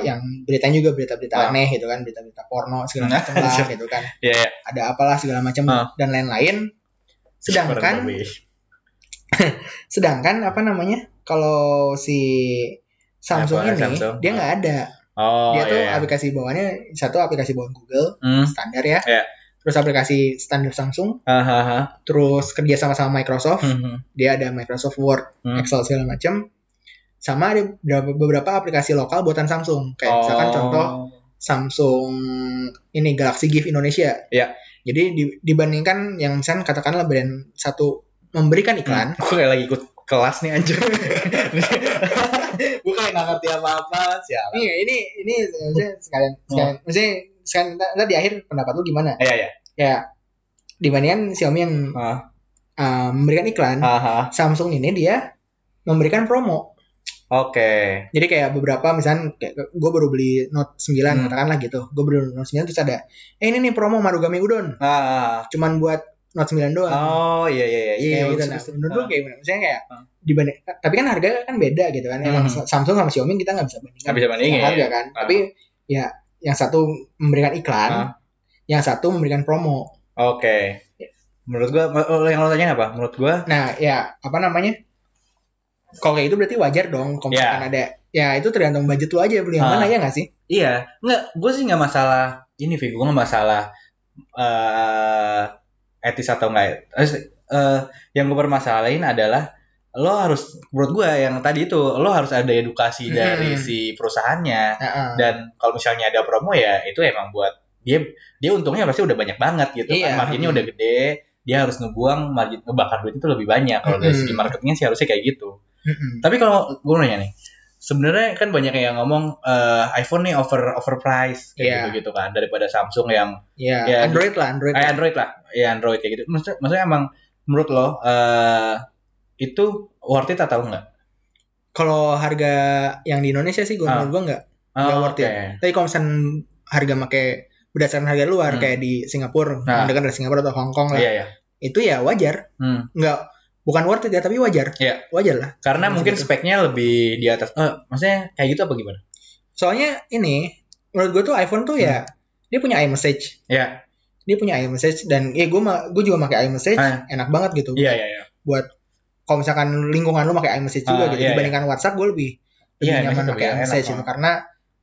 Hmm.
yang beritanya juga berita-berita
Ah.
aneh gitu kan berita-berita porno
Hmm.
segala macam lah gitu kan
Iya. iya.
ada apalah segala macam
Ah.
dan lain-lain sedangkan
Babe.
sedangkan apa namanya kalau si Samsung
Apple,
ini
Samsung.
dia nggak ada
Oh
dia
iya.
tuh
iya.
aplikasi bawaannya satu aplikasi bawaan Google
Hmm.
standar ya
Iya.
terus aplikasi standar Samsung
Aha, aha.
terus kerja sama sama Microsoft
Ah, Hmm,
dia ada Microsoft Word
hmm.
Excel segala macam. Sama ada beberapa, beberapa aplikasi lokal buatan Samsung. Kayak misalkan
Oh.
contoh Samsung ini Galaxy Gift Indonesia.
Iya.
Jadi di- dibandingkan yang misalnya katakanlah brand satu memberikan iklan,
Aku Hmm. kayak lagi ikut kelas nih anjir. Gue kayak nggak ngerti apa-apa siapa.
ini Iya, ini ini maksudnya sekalian
Oh.
sekalian maksudnya sekalian ntar- ntar di akhir pendapat lu gimana?
Iya iya.
Ya dibandingkan Xiaomi yang
Ah.
uh, memberikan iklan,
Aha.
Samsung ini dia memberikan promo.
Oke.
Jadi kayak beberapa misalnya kayak gue baru beli Note 9
Hmm.
katakanlah gitu. Gue baru beli Note 9 terus ada eh ini nih promo Marugame Udon
Ah.
cuman buat Note 9 doang.
Oh iya iya iya.
Kayak gitu.
bagus,
Nah,
bagus.
menurut lu kayak gimana? Maksudnya kayak
Ah.
dibanding tapi kan harga kan beda gitu kan. Emang
Hmm.
Samsung sama Xiaomi kita nggak bisa bandingkan.
Nggak bisa bandingin,
harga kan.
Ah.
Tapi ya yang satu memberikan iklan,
Ah.
yang satu memberikan promo.
Oke. Menurut gua oh, yang lo tanya apa? Menurut gua
Nah, ya apa namanya? Kalau kayak itu berarti wajar dong kalau
Ya.
misalkan ada ya itu tergantung budget lu aja beli yang
Ah.
mana ya nggak sih?
Iya, nggak, gue sih nggak masalah ini, Vi, gue nggak masalah eh etis atau nggak. etis. Eh, yang gue permasalahin adalah lo harus, menurut gue yang tadi itu lo harus ada edukasi
Hmm.
dari si perusahaannya
Heeh.
dan kalau misalnya ada promo ya itu emang buat dia dia untungnya pasti udah banyak banget gitu kan
Iya.
marginnya udah gede dia harus ngebuang margin ngebakar duit itu lebih banyak kalau dari
Hmm.
segi marketingnya sih harusnya kayak gitu
Heeh.
tapi kalau gue nanya nih, sebenarnya kan banyak yang ngomong eh, iPhone nih over overpriced kayak
Iya.
gitu-gitu kan daripada Samsung yang
Ya,
Ya.
Android lah, Android.
eh,
lah.
Android lah, ya Android kayak gitu. Maksudnya, maksudnya emang menurut lo eh, itu worth it atau enggak?
Kalau harga yang di Indonesia sih gue
Ah.
menurut gue nggak. Nggak worth it. Tapi kalau misalnya harga make berdasarkan harga luar
Hmm.
kayak di Singapura,
Nah.
yang dekat dari Singapura atau Hong Kong lah,
Iya ya.
itu ya wajar.
Hmm.
Nggak bukan worth it ya, tapi wajar.
Iya.
Wajar lah.
Karena
Maksudnya
mungkin
gitu.
speknya lebih di atas. Eh, maksudnya kayak gitu apa gimana?
Soalnya ini menurut gue tuh iPhone tuh ya
Hmm.
dia punya iMessage,
Iya.
dia punya iMessage dan ya gue ma- gue juga pakai iMessage,
Ah.
enak banget gitu.
Iya iya iya.
Kalau misalkan lingkungan lu pakai iMessage
Ah,
juga gitu
iya,
dibandingkan WhatsApp gue lebih lebih
Iya,
nyaman
iMessage
pakai
lebih enak,
iMessage gitu karena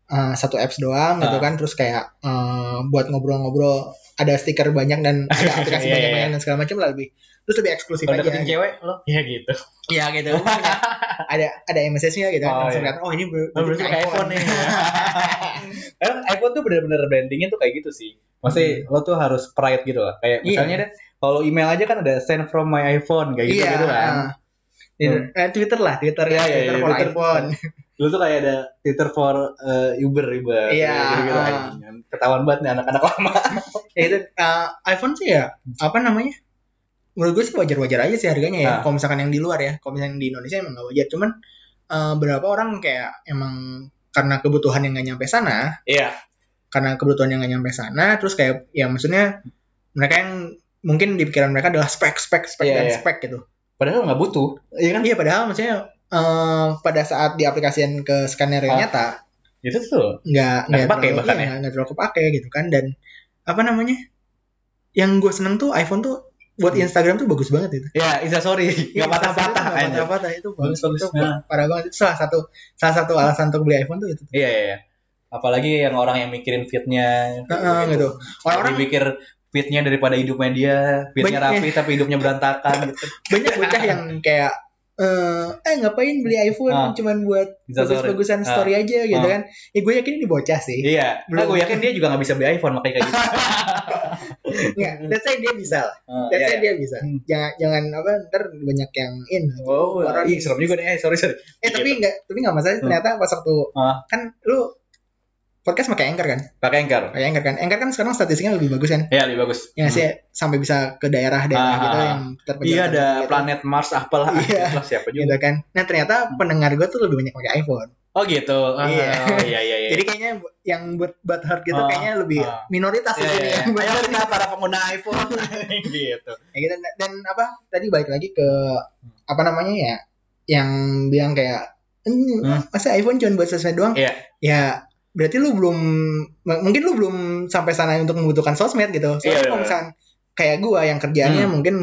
eh, satu apps doang gitu
Ah.
kan terus kayak eh, buat ngobrol-ngobrol ada stiker banyak dan ada aplikasi
Iya, iya,
banyak-banyak dan segala macam lah lebih terus lebih eksklusif
Kalau
aja
deketin cewek lo? Iya gitu.
Iya gitu Maksudnya ada ada MSS-nya gitu kan
Oh,
langsung
iya.
kelihatan, oh ini ber-
Oh, berarti pakai iPhone nih. Karena iPhone tuh bener-bener brandingnya tuh kayak gitu sih. Maksudnya lo tuh harus pride gitu lah. Kayak
Iya.
misalnya deh, kalau email aja kan ada send from my iPhone kayak gitu
iya
gitu kan. Hmm.
ah. Di- eh, Twitter lah Twitter
Iya,
ya
iya,
Twitter
iya,
for
Twitter.
iPhone
Dulu tuh kayak ada Twitter for uh, Uber Uber
Iya,
gitu
ah.
Ketahuan banget nih anak-anak lama.
ya itu eh, iPhone sih ya apa namanya menurut gue sih wajar-wajar aja sih harganya ya
Ah.
kalau misalkan yang di luar ya kalau misalkan di Indonesia emang nggak wajar cuman eh, berapa orang kayak emang karena kebutuhan yang nggak nyampe sana
Iya.
karena kebutuhan yang nggak nyampe sana terus kayak ya maksudnya mereka yang mungkin di pikiran mereka adalah spek spek spek
Iya,
dan
iya.
spek gitu
Padahal nggak butuh.
iya kan iya padahal maksudnya eh, pada saat diaplikasikan ke
Ah.
skenario nyata
Itu tuh.
nggak
Nggak kepake
terlalu-
bahkan
iya,
ya.
nggak terlalu kepake gitu kan dan apa namanya yang gue seneng tuh iPhone tuh buat
Hmm.
Instagram tuh bagus banget itu
Ya, Insta sorry. Nggak patah-patah
nggak
anjir.
patah-patah itu
Bagus,
bagus
bagus.
itu
Nah.
parah banget itu salah satu salah satu alasan untuk beli iPhone tuh itu
Iya iya. iya. Apalagi yang orang yang mikirin fitnya.
Heeh, gitu
Orang
orang-orang
mikir fitnya daripada hidupnya dia, fitnya
Banyak- ya.
rapi tapi hidupnya berantakan gitu.
banyak bocah yang kayak eh eh ngapain beli iPhone
Ah.
cuman buat
Insta sorry.
bagus-bagusan
Ah.
story aja
Ah.
gitu kan ya gue yakin ini bocah sih
Iya,
Belum.
nah, gue yakin dia juga nggak bisa beli iPhone makanya kayak gitu.
nggak that's why Ya, dia bisa lah
Ah,
that's
iya,
why
iya.
dia bisa
Hmm.
jangan jangan apa ntar banyak yang in
Wow,
Orang-
ih serem juga nih. Eh, sorry sorry.
Eh tapi nggak tapi nggak masalah ternyata pas waktu
Ah.
kan lu podcast pakai Anchor kan?
Pakai Anchor.
Pakai Anchor kan? Anchor kan sekarang statistiknya lebih bagus kan?
Ya, lebih bagus.
Ya
Hmm.
sih sampai bisa ke daerah-daerah
Ah,
gitu
ah,
yang terpencil.
Iya ada
gitu.
planet Mars apalah
Iya.
Lah, siapa juga. Hmm.
gitu kan. Nah ternyata pendengar gue tuh lebih banyak pakai iPhone.
Oh gitu. Ah,
Iya.
iya iya iya.
Jadi kayaknya bu- yang buat buat hurt gitu
Ah,
kayaknya lebih
ah.
minoritas
Iya,
gitu
iya.
yang buat
Ayo
hurt.
kita para pengguna iPhone gitu.
Ya gitu. Dan apa tadi balik lagi ke apa namanya ya yang bilang kayak "Hmm,
Hmm.
masa iPhone cuma buat sesuai doang?
Iya.
Ya berarti lu belum m- mungkin lu belum sampai sana untuk membutuhkan sosmed gitu. Soalnya
Iya, iya,
kalau
iya.
misalkan kayak gua yang kerjaannya
Hmm.
mungkin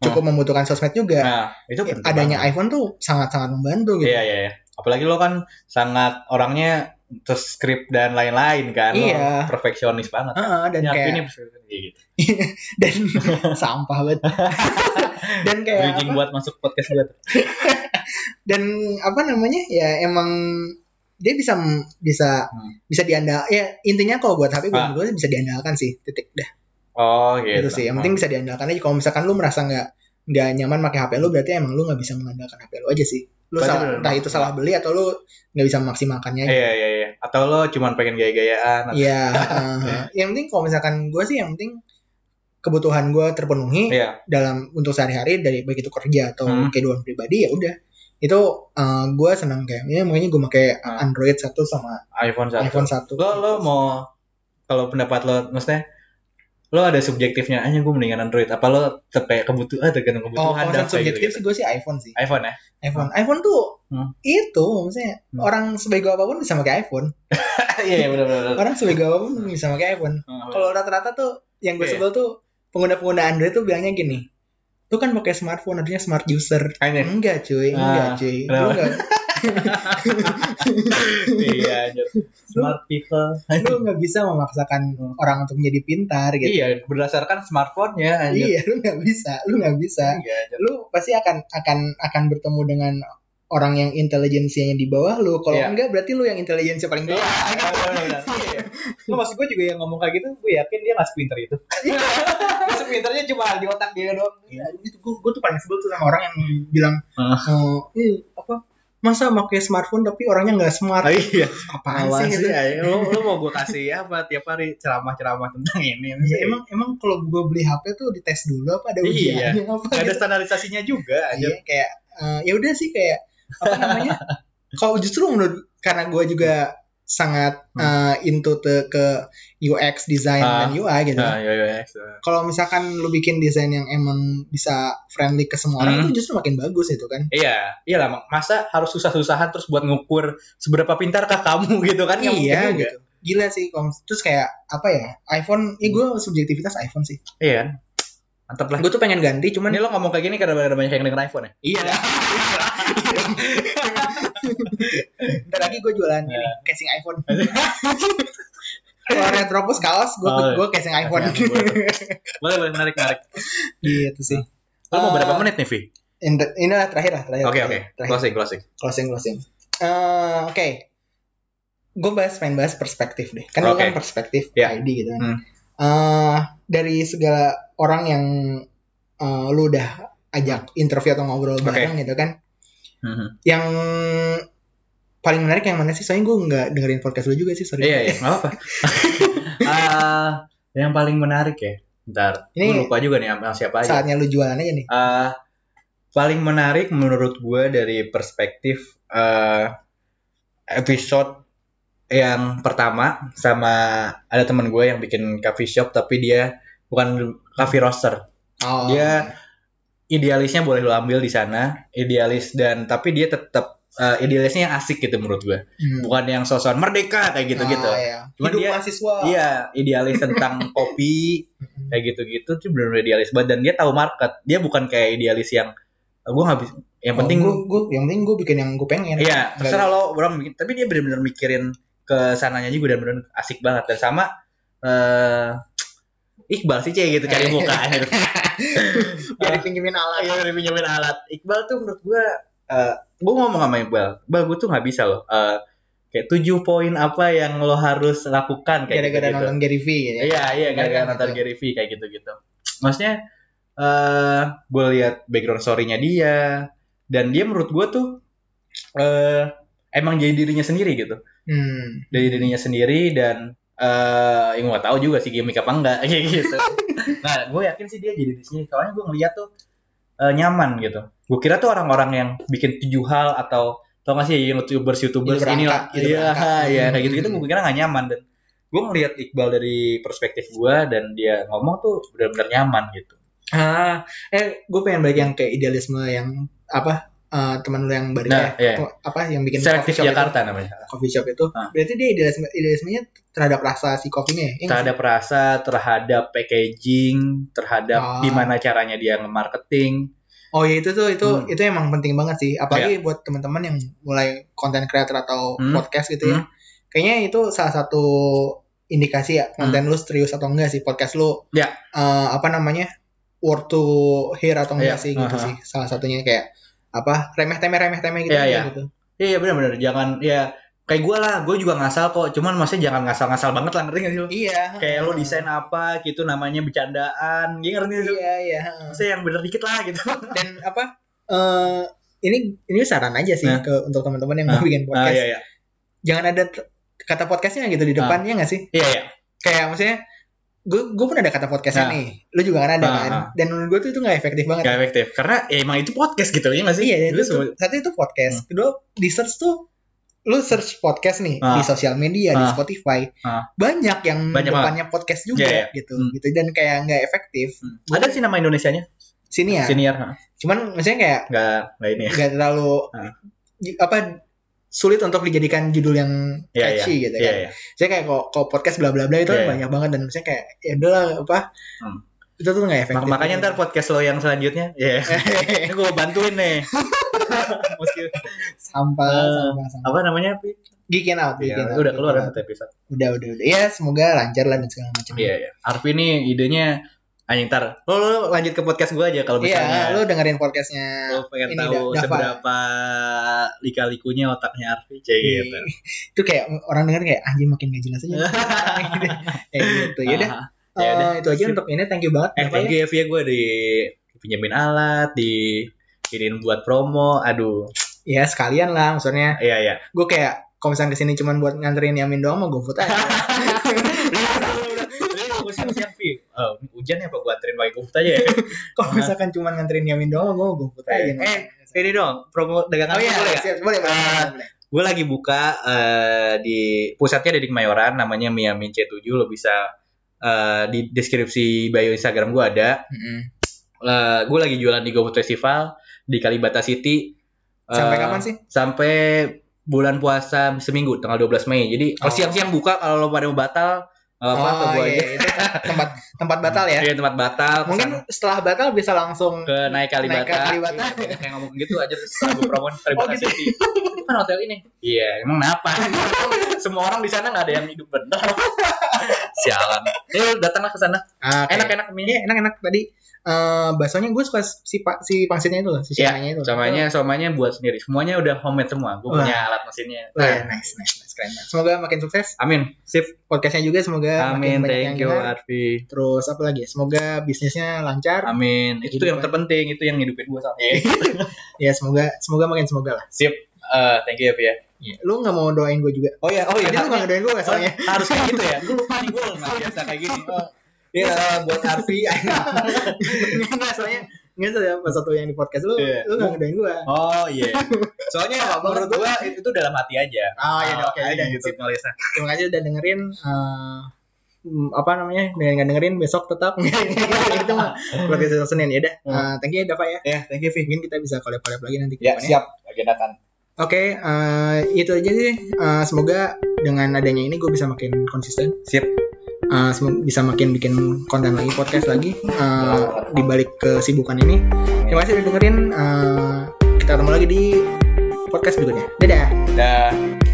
cukup membutuhkan sosmed juga. ya,
Nah, itu penting
Iya. Adanya
banget.
iPhone tuh sangat-sangat membantu gitu.
Iya iya iya. Apalagi lo kan sangat orangnya terskrip dan lain-lain kan. Lo
Iya.
perfeksionis banget.
Heeh, dan
Ya,
kayak
ini perfeksionis, gitu.
dan sampah banget dan kayak
Bridging
apa,
buat masuk podcast gue. tuh.
dan apa namanya ya emang dia bisa bisa
Hmm.
bisa diandal ya intinya kalau buat HP gue
Ah.
menurut gue bisa diandalkan sih titik dah
Oh gitu.
itu sih yang penting bisa diandalkan aja kalau misalkan lu merasa nggak nggak nyaman pakai HP lu berarti emang lu nggak bisa mengandalkan HP lu aja sih lu
Berarti
salah,
bener.
entah itu salah beli atau lu nggak bisa memaksimalkannya aja.
Iya iya iya. Atau lo cuman pengen gaya-gayaan. atau-
Iya, heeh. yang penting kalau misalkan gue sih yang penting kebutuhan gue terpenuhi
Iya.
dalam untuk sehari-hari dari baik itu kerja atau
Hmm.
kehidupan pribadi ya udah itu gue senang kayak ya makanya gue pakai
Hmm.
Android satu sama
iPhone satu.
iPhone satu.
lo lo mau kalau pendapat lo maksudnya lo ada subjektifnya aja gue mendingan Android apa lo tetep kayak kebutuhan tergantung
Oh,
kebutuhan
kalau
dan
misalkan
kayak
subjektif
gitu-gitu?
sih gue sih iPhone sih.
iPhone ya
iPhone, iPhone tuh
gitu Hmm.
itu maksudnya
Hmm.
orang sebego apapun bisa pakai iPhone.
iya iya benar benar
Orang sebego apapun bisa pakai iPhone. Kalau rata-rata tuh yang gue
Iya.
sebel tuh pengguna-pengguna Android tuh bilangnya gini, lu kan pakai smartphone artinya smart user.
anjir
Enggak
Ah,
cuy, enggak cuy. Lu
kenapa?
enggak
iya anjir smart people
lu nggak bisa memaksakan
Hmm.
orang untuk menjadi pintar gitu.
iya berdasarkan smartphone-nya anjir
Iya, lu nggak bisa, lu nggak bisa.
Iya, anjir.
Lu pasti akan akan akan bertemu dengan orang yang intelijensianya di bawah lu. Kalau
Iya.
enggak berarti lu yang intelijensinya paling
Iya,
bawah.
benar-benar. Iya. Lo maksud gue juga yang ngomong kayak gitu, gue yakin dia nggak sepinter itu. Dia sepinternya cuma di otak dia doang.
Iya, itu gue, tuh paling sebel tuh sama orang yang bilang
Ah.
"Oh, eh, apa masa pakai smartphone tapi orangnya nggak smart
Iya,
apaan sih,
ya.
gitu.
Lo, lo mau gue kasih apa tiap hari ceramah-ceramah tentang ini?
Iya, emang emang kalau gue beli HP tuh dites dulu apa ada
Iya.
ujiannya apa
Gak
gitu.
ada standarisasinya juga aja.
Iya, kayak eh, ya udah sih kayak apa namanya? Kalau justru menurut karena gue juga sangat eh, into te- ke UX design
Hmm. Ah.
dan UI gitu.
Nah, yo, yo, X.
Kalau misalkan lu bikin desain yang emang bisa friendly ke semua orang
Hmm.
itu justru makin bagus itu kan.
Iya, iya lah. Masa harus susah-susahan terus buat ngukur seberapa pintarkah kamu gitu kan? Nggak
iya
mungkin juga.
gitu. Gila sih kalau terus kayak apa ya? iPhone, ini gue subjektivitas iPhone sih.
Iya. Mantap Hmm. lah. Iya.
Gue tuh pengen ganti
Ini
cuman
lo ngomong kayak gini karena ada banyak yang denger iPhone ya?
iya lah. Ntar lagi gue jualan
Iya.
ini casing iPhone. Kalau Retropos kaos, gue
Oh,
gue casing iPhone.
Oke, boleh. boleh, boleh. Menarik, menarik.
gitu sih.
Lo mau
Eh,
berapa menit nih, Vi?
Ini inilah terakhir lah, terakhir.
Oke, oke.
Iya, terakhir, Terakhir.
Closing, closing.
Closing, closing. Eh, oke. Gue bahas pengen bahas perspektif deh. Kan lu
Oke.
kan perspektif
Iya.
ID gitu kan.
Hmm.
Eh, dari segala orang yang eh, lu udah ajak interview atau ngobrol
Oke.
bareng gitu kan.
Mhm.
Yang paling menarik yang mana sih? Soalnya gue nggak dengerin podcast lu juga sih, sorry.
Iya, iya. Gak apa-apa. Ah, yang paling menarik ya? Ntar.
Ini-
Gue lupa juga nih sama siapa aja.
Saatnya lu jualan aja nih.
Eh, paling menarik menurut gue dari perspektif eh, episode yang pertama sama ada teman gue yang bikin coffee shop tapi dia bukan coffee roaster
Oh.
Dia- idealisnya boleh lo ambil di sana idealis dan tapi dia tetap eh, idealisnya yang asik gitu menurut gue
Hmm.
bukan yang sosokan merdeka kayak gitu gitu
Ah, iya.
Cuman
Hidup
dia-
mahasiswa.
iya idealis tentang kopi kayak gitu-gitu tuh benar idealis banget dan dia tahu market dia bukan kayak idealis yang gue nggak bisa yang penting
gue, yang penting gue bikin yang gue pengen.
iya terserah lo orang bikin tapi dia benar-benar mikirin ke sananya juga dan benar asik banget dan sama eh Iqbal sih cie gitu cari muka gitu.
Biar dipinggirin alat.
Iya dari pinjamin alat Iqbal tuh menurut gue eh gue ngomong sama Iqbal Iqbal gue tuh nggak bisa loh eh, kayak tujuh poin apa yang lo harus lakukan kayak
Gara-gara
gitu-gitu.
nonton Gary V gitu ya.
Iya iya gara-gara
Gara-gara
nonton
gitu.
Gary Vee kayak gitu-gitu. Maksudnya eh gue lihat background story-nya dia dan dia menurut gue tuh eh emang jadi dirinya sendiri gitu
Hmm.
dari dirinya sendiri dan eh yang gak tahu juga sih gimmick apa enggak kayak gitu nah gue yakin sih dia jadi di sini soalnya gue ngeliat tuh eh, nyaman gitu gue kira tuh orang-orang yang bikin tujuh hal atau tau gak sih youtubers youtubers
Youtuber
inilah
angka, youtuber
iya
angka.
iya kayak
Hmm.
gitu gitu gue kira gak nyaman dan gue ngeliat Iqbal dari perspektif gue dan dia ngomong tuh benar-benar nyaman gitu
Ah, eh gue pengen balik yang kayak idealisme yang apa eh, teman lu yang balik
Nah, iya.
apa yang bikin
selektif
coffee shop
Jakarta namanya
itu, coffee shop itu.
Ah.
Berarti dia idealisme idealismenya terhadap rasa si kopinya ya? Iya nggak sih?
terhadap rasa terhadap packaging terhadap
Ah.
gimana caranya dia nge-marketing
Oh ya itu tuh itu
Hmm. Iya.
itu emang penting banget sih, apalagi buat teman-teman yang mulai konten creator atau
Hmm.
podcast gitu ya. Kayaknya itu salah satu indikasi ya
Hmm.
konten lu serius atau enggak sih podcast lu.
Ya.
eh, apa namanya? worth to hear atau enggak
Ya,
sih
aha.
gitu sih. Salah satunya kayak apa? remeh-temeh remeh-temeh gitu
Ya,
aja
ya.
gitu.
Iya iya benar-benar jangan ya kayak gue lah gue juga ngasal kok cuman maksudnya jangan ngasal-ngasal banget lah ngerti gak sih lo?
Iya.
Kayak lo desain apa gitu namanya bercandaan gitu ngerti gak sih? lo?
Iya, iya.
Maksudnya yang bener dikit lah gitu.
Dan apa? eh ini ini saran aja sih
Nah.
ke untuk teman-teman yang mau bikin
Ah
podcast.
iya iya
Jangan ada t- kata podcastnya gitu di depannya nggak sih?
iya iya
kayak maksudnya gue gue pun ada kata podcastnya
Nah.
nih lu juga kan ada
Ah,
kan
ah.
dan menurut gue tuh itu nggak efektif banget
gak efektif karena ya emang itu podcast gitu ya nggak sih?
iya itu
Lu Hmm.
tuh- satu itu podcast kedua di search tuh lu search podcast nih
Ah.
di sosial media di
Ah.
Spotify
Ah.
banyak yang
Banyak banget.
depannya podcast juga
Iya,
gitu
Hmm.
gitu dan kayak nggak efektif
Hmm. Ada sih nama Indonesianya
sini ya
senior ha.
cuman maksudnya kayak
nggak nggak ini ya.
nggak terlalu
Ah.
j- apa sulit untuk dijadikan judul yang
Iya,
catchy gitu
Iya
kan
iya.
saya kayak kok kok podcast bla bla bla itu
Iya,
kan
iya.
banyak banget dan maksudnya kayak ya udahlah apa
Hmm.
itu tuh nggak efektif gitu.
Mak- makanya ntar podcast lo yang selanjutnya, ya ini gue bantuin nih. Meski
sampah,
Eh,
sampah, sampah.
apa namanya? Pi?
Geekin out,
Iya,
geekin out.
udah keluar
geekin
kan
out.
satu episode.
Udah, udah, udah. Ya, semoga lancar lah dan segala macam.
Iya, iya. Arfi ini idenya anjing ntar. Lo, lo lanjut ke podcast gue aja kalau
Iya,
misalnya.
lu dengerin podcastnya.
lo pengen
ini
tahu
dah- dapat.
seberapa lika-likunya otaknya Arfi, cek gitu.
Itu kayak orang denger kayak anjing makin gak jelas aja. kayak gitu. Ya udah,
Ah, ya udah.
Eh, itu aja untuk ini. Thank you banget.
eh,
Bapak
thank
ya.
you ya gue di pinjemin alat, di iniin buat promo. Aduh.
Ya, sekalian lah maksudnya.
Iya, iya.
Gue kayak kalau misalnya kesini cuman buat nganterin Yamin doang mau GoFood aja.
Udah, gue siap-siap, Fi. Oh, hujan ya, Pak. Gue anterin pakai GoFood aja ya.
kalau misalkan cuman nganterin Yamin doang gue mau GoFood aja.
Eh, Ini dong, promo dagangan
oh iya,
lu boleh nggak?
siap, boleh, boleh,
Ah.
boleh.
gue lagi buka eh, di pusatnya ada di Kemayoran namanya Miamin C7 lo bisa eh, di deskripsi bio Instagram gue ada
Mm-mm.
gue lagi jualan di GoFood Festival di Kalibata City Eh,
Sampai kapan sih?
sampai bulan puasa seminggu tanggal 12 Mei jadi kalau
Oh.
siang-siang buka kalau lo pada mau batal nggak apa apa
Oh,
gue
iya,
aja
itu tempat tempat batal ya.
Iya, tempat batal
Mungkin
pesan
setelah batal bisa langsung
ke naik Kalibata,
naik ke Kalibata.
Iya, kayak ngomong gitu aja terus gue promoin Kalibata
Oh, gitu.
City itu kan hotel ini iya emang kenapa semua orang di sana nggak ada yang hidup bener sialan eh datanglah ke sana
Ah, kayak-
enak-enak mie
Iya, enak-enak tadi eh baksonya gue suka si pa- si pangsitnya itu loh, si
Iya,
siangnya itu. loh.
somanya somanya buat sendiri semuanya udah homemade semua gue
Wah.
punya alat mesinnya Nah.
Wah, ya, nice, nice, nice, keren. banget. Semoga makin sukses
amin sip
podcastnya juga, semoga makin
amin
banyak
thank you
yang dengar.
Arfi
Terus apa lagi? ya? Semoga bisnisnya lancar.
amin itu tuh yang terpenting itu yang hidupin gue sama
Ya semoga semoga makin semoga lah.
sip Eh, thank you Arfi ya
Iya. Lu nggak mau doain gue juga?
oh ya oh
Tadi lu nggak
ya
ngedoain gue nggak soalnya.
harus kayak gitu ya gue lupa nih gue nggak biasa kayak gini Oh,
Iya buat Arfi. Nggak soalnya nggak soalnya pas satu yang di podcast lu,
Iya.
lu nggak ngedoain gue.
Oh iya. Soalnya menurut gua itu tuh dalam hati aja.
Oh iya, oke,
ada
udah,
gitu
sip.
nulisnya.
terima kasih udah dengerin eh, hmm, apa namanya dengan nggak dengerin besok tetap itu mah berarti besok Senin ya dah Eh, thank you ya Dava ya
Hmm. Ya, thank you Vivi.
mungkin kita bisa collab-collab lagi nanti ke
Ya,
depannya.
siap. Agendakan.
oke eh, itu aja sih Eh, semoga dengan adanya ini gue bisa makin konsisten
Sip.
Eh, sem- bisa makin bikin konten lagi podcast lagi eh, di balik kesibukan ini terima kasih udah dengerin Eh, kita ketemu lagi di podcast berikutnya dadah
Dah.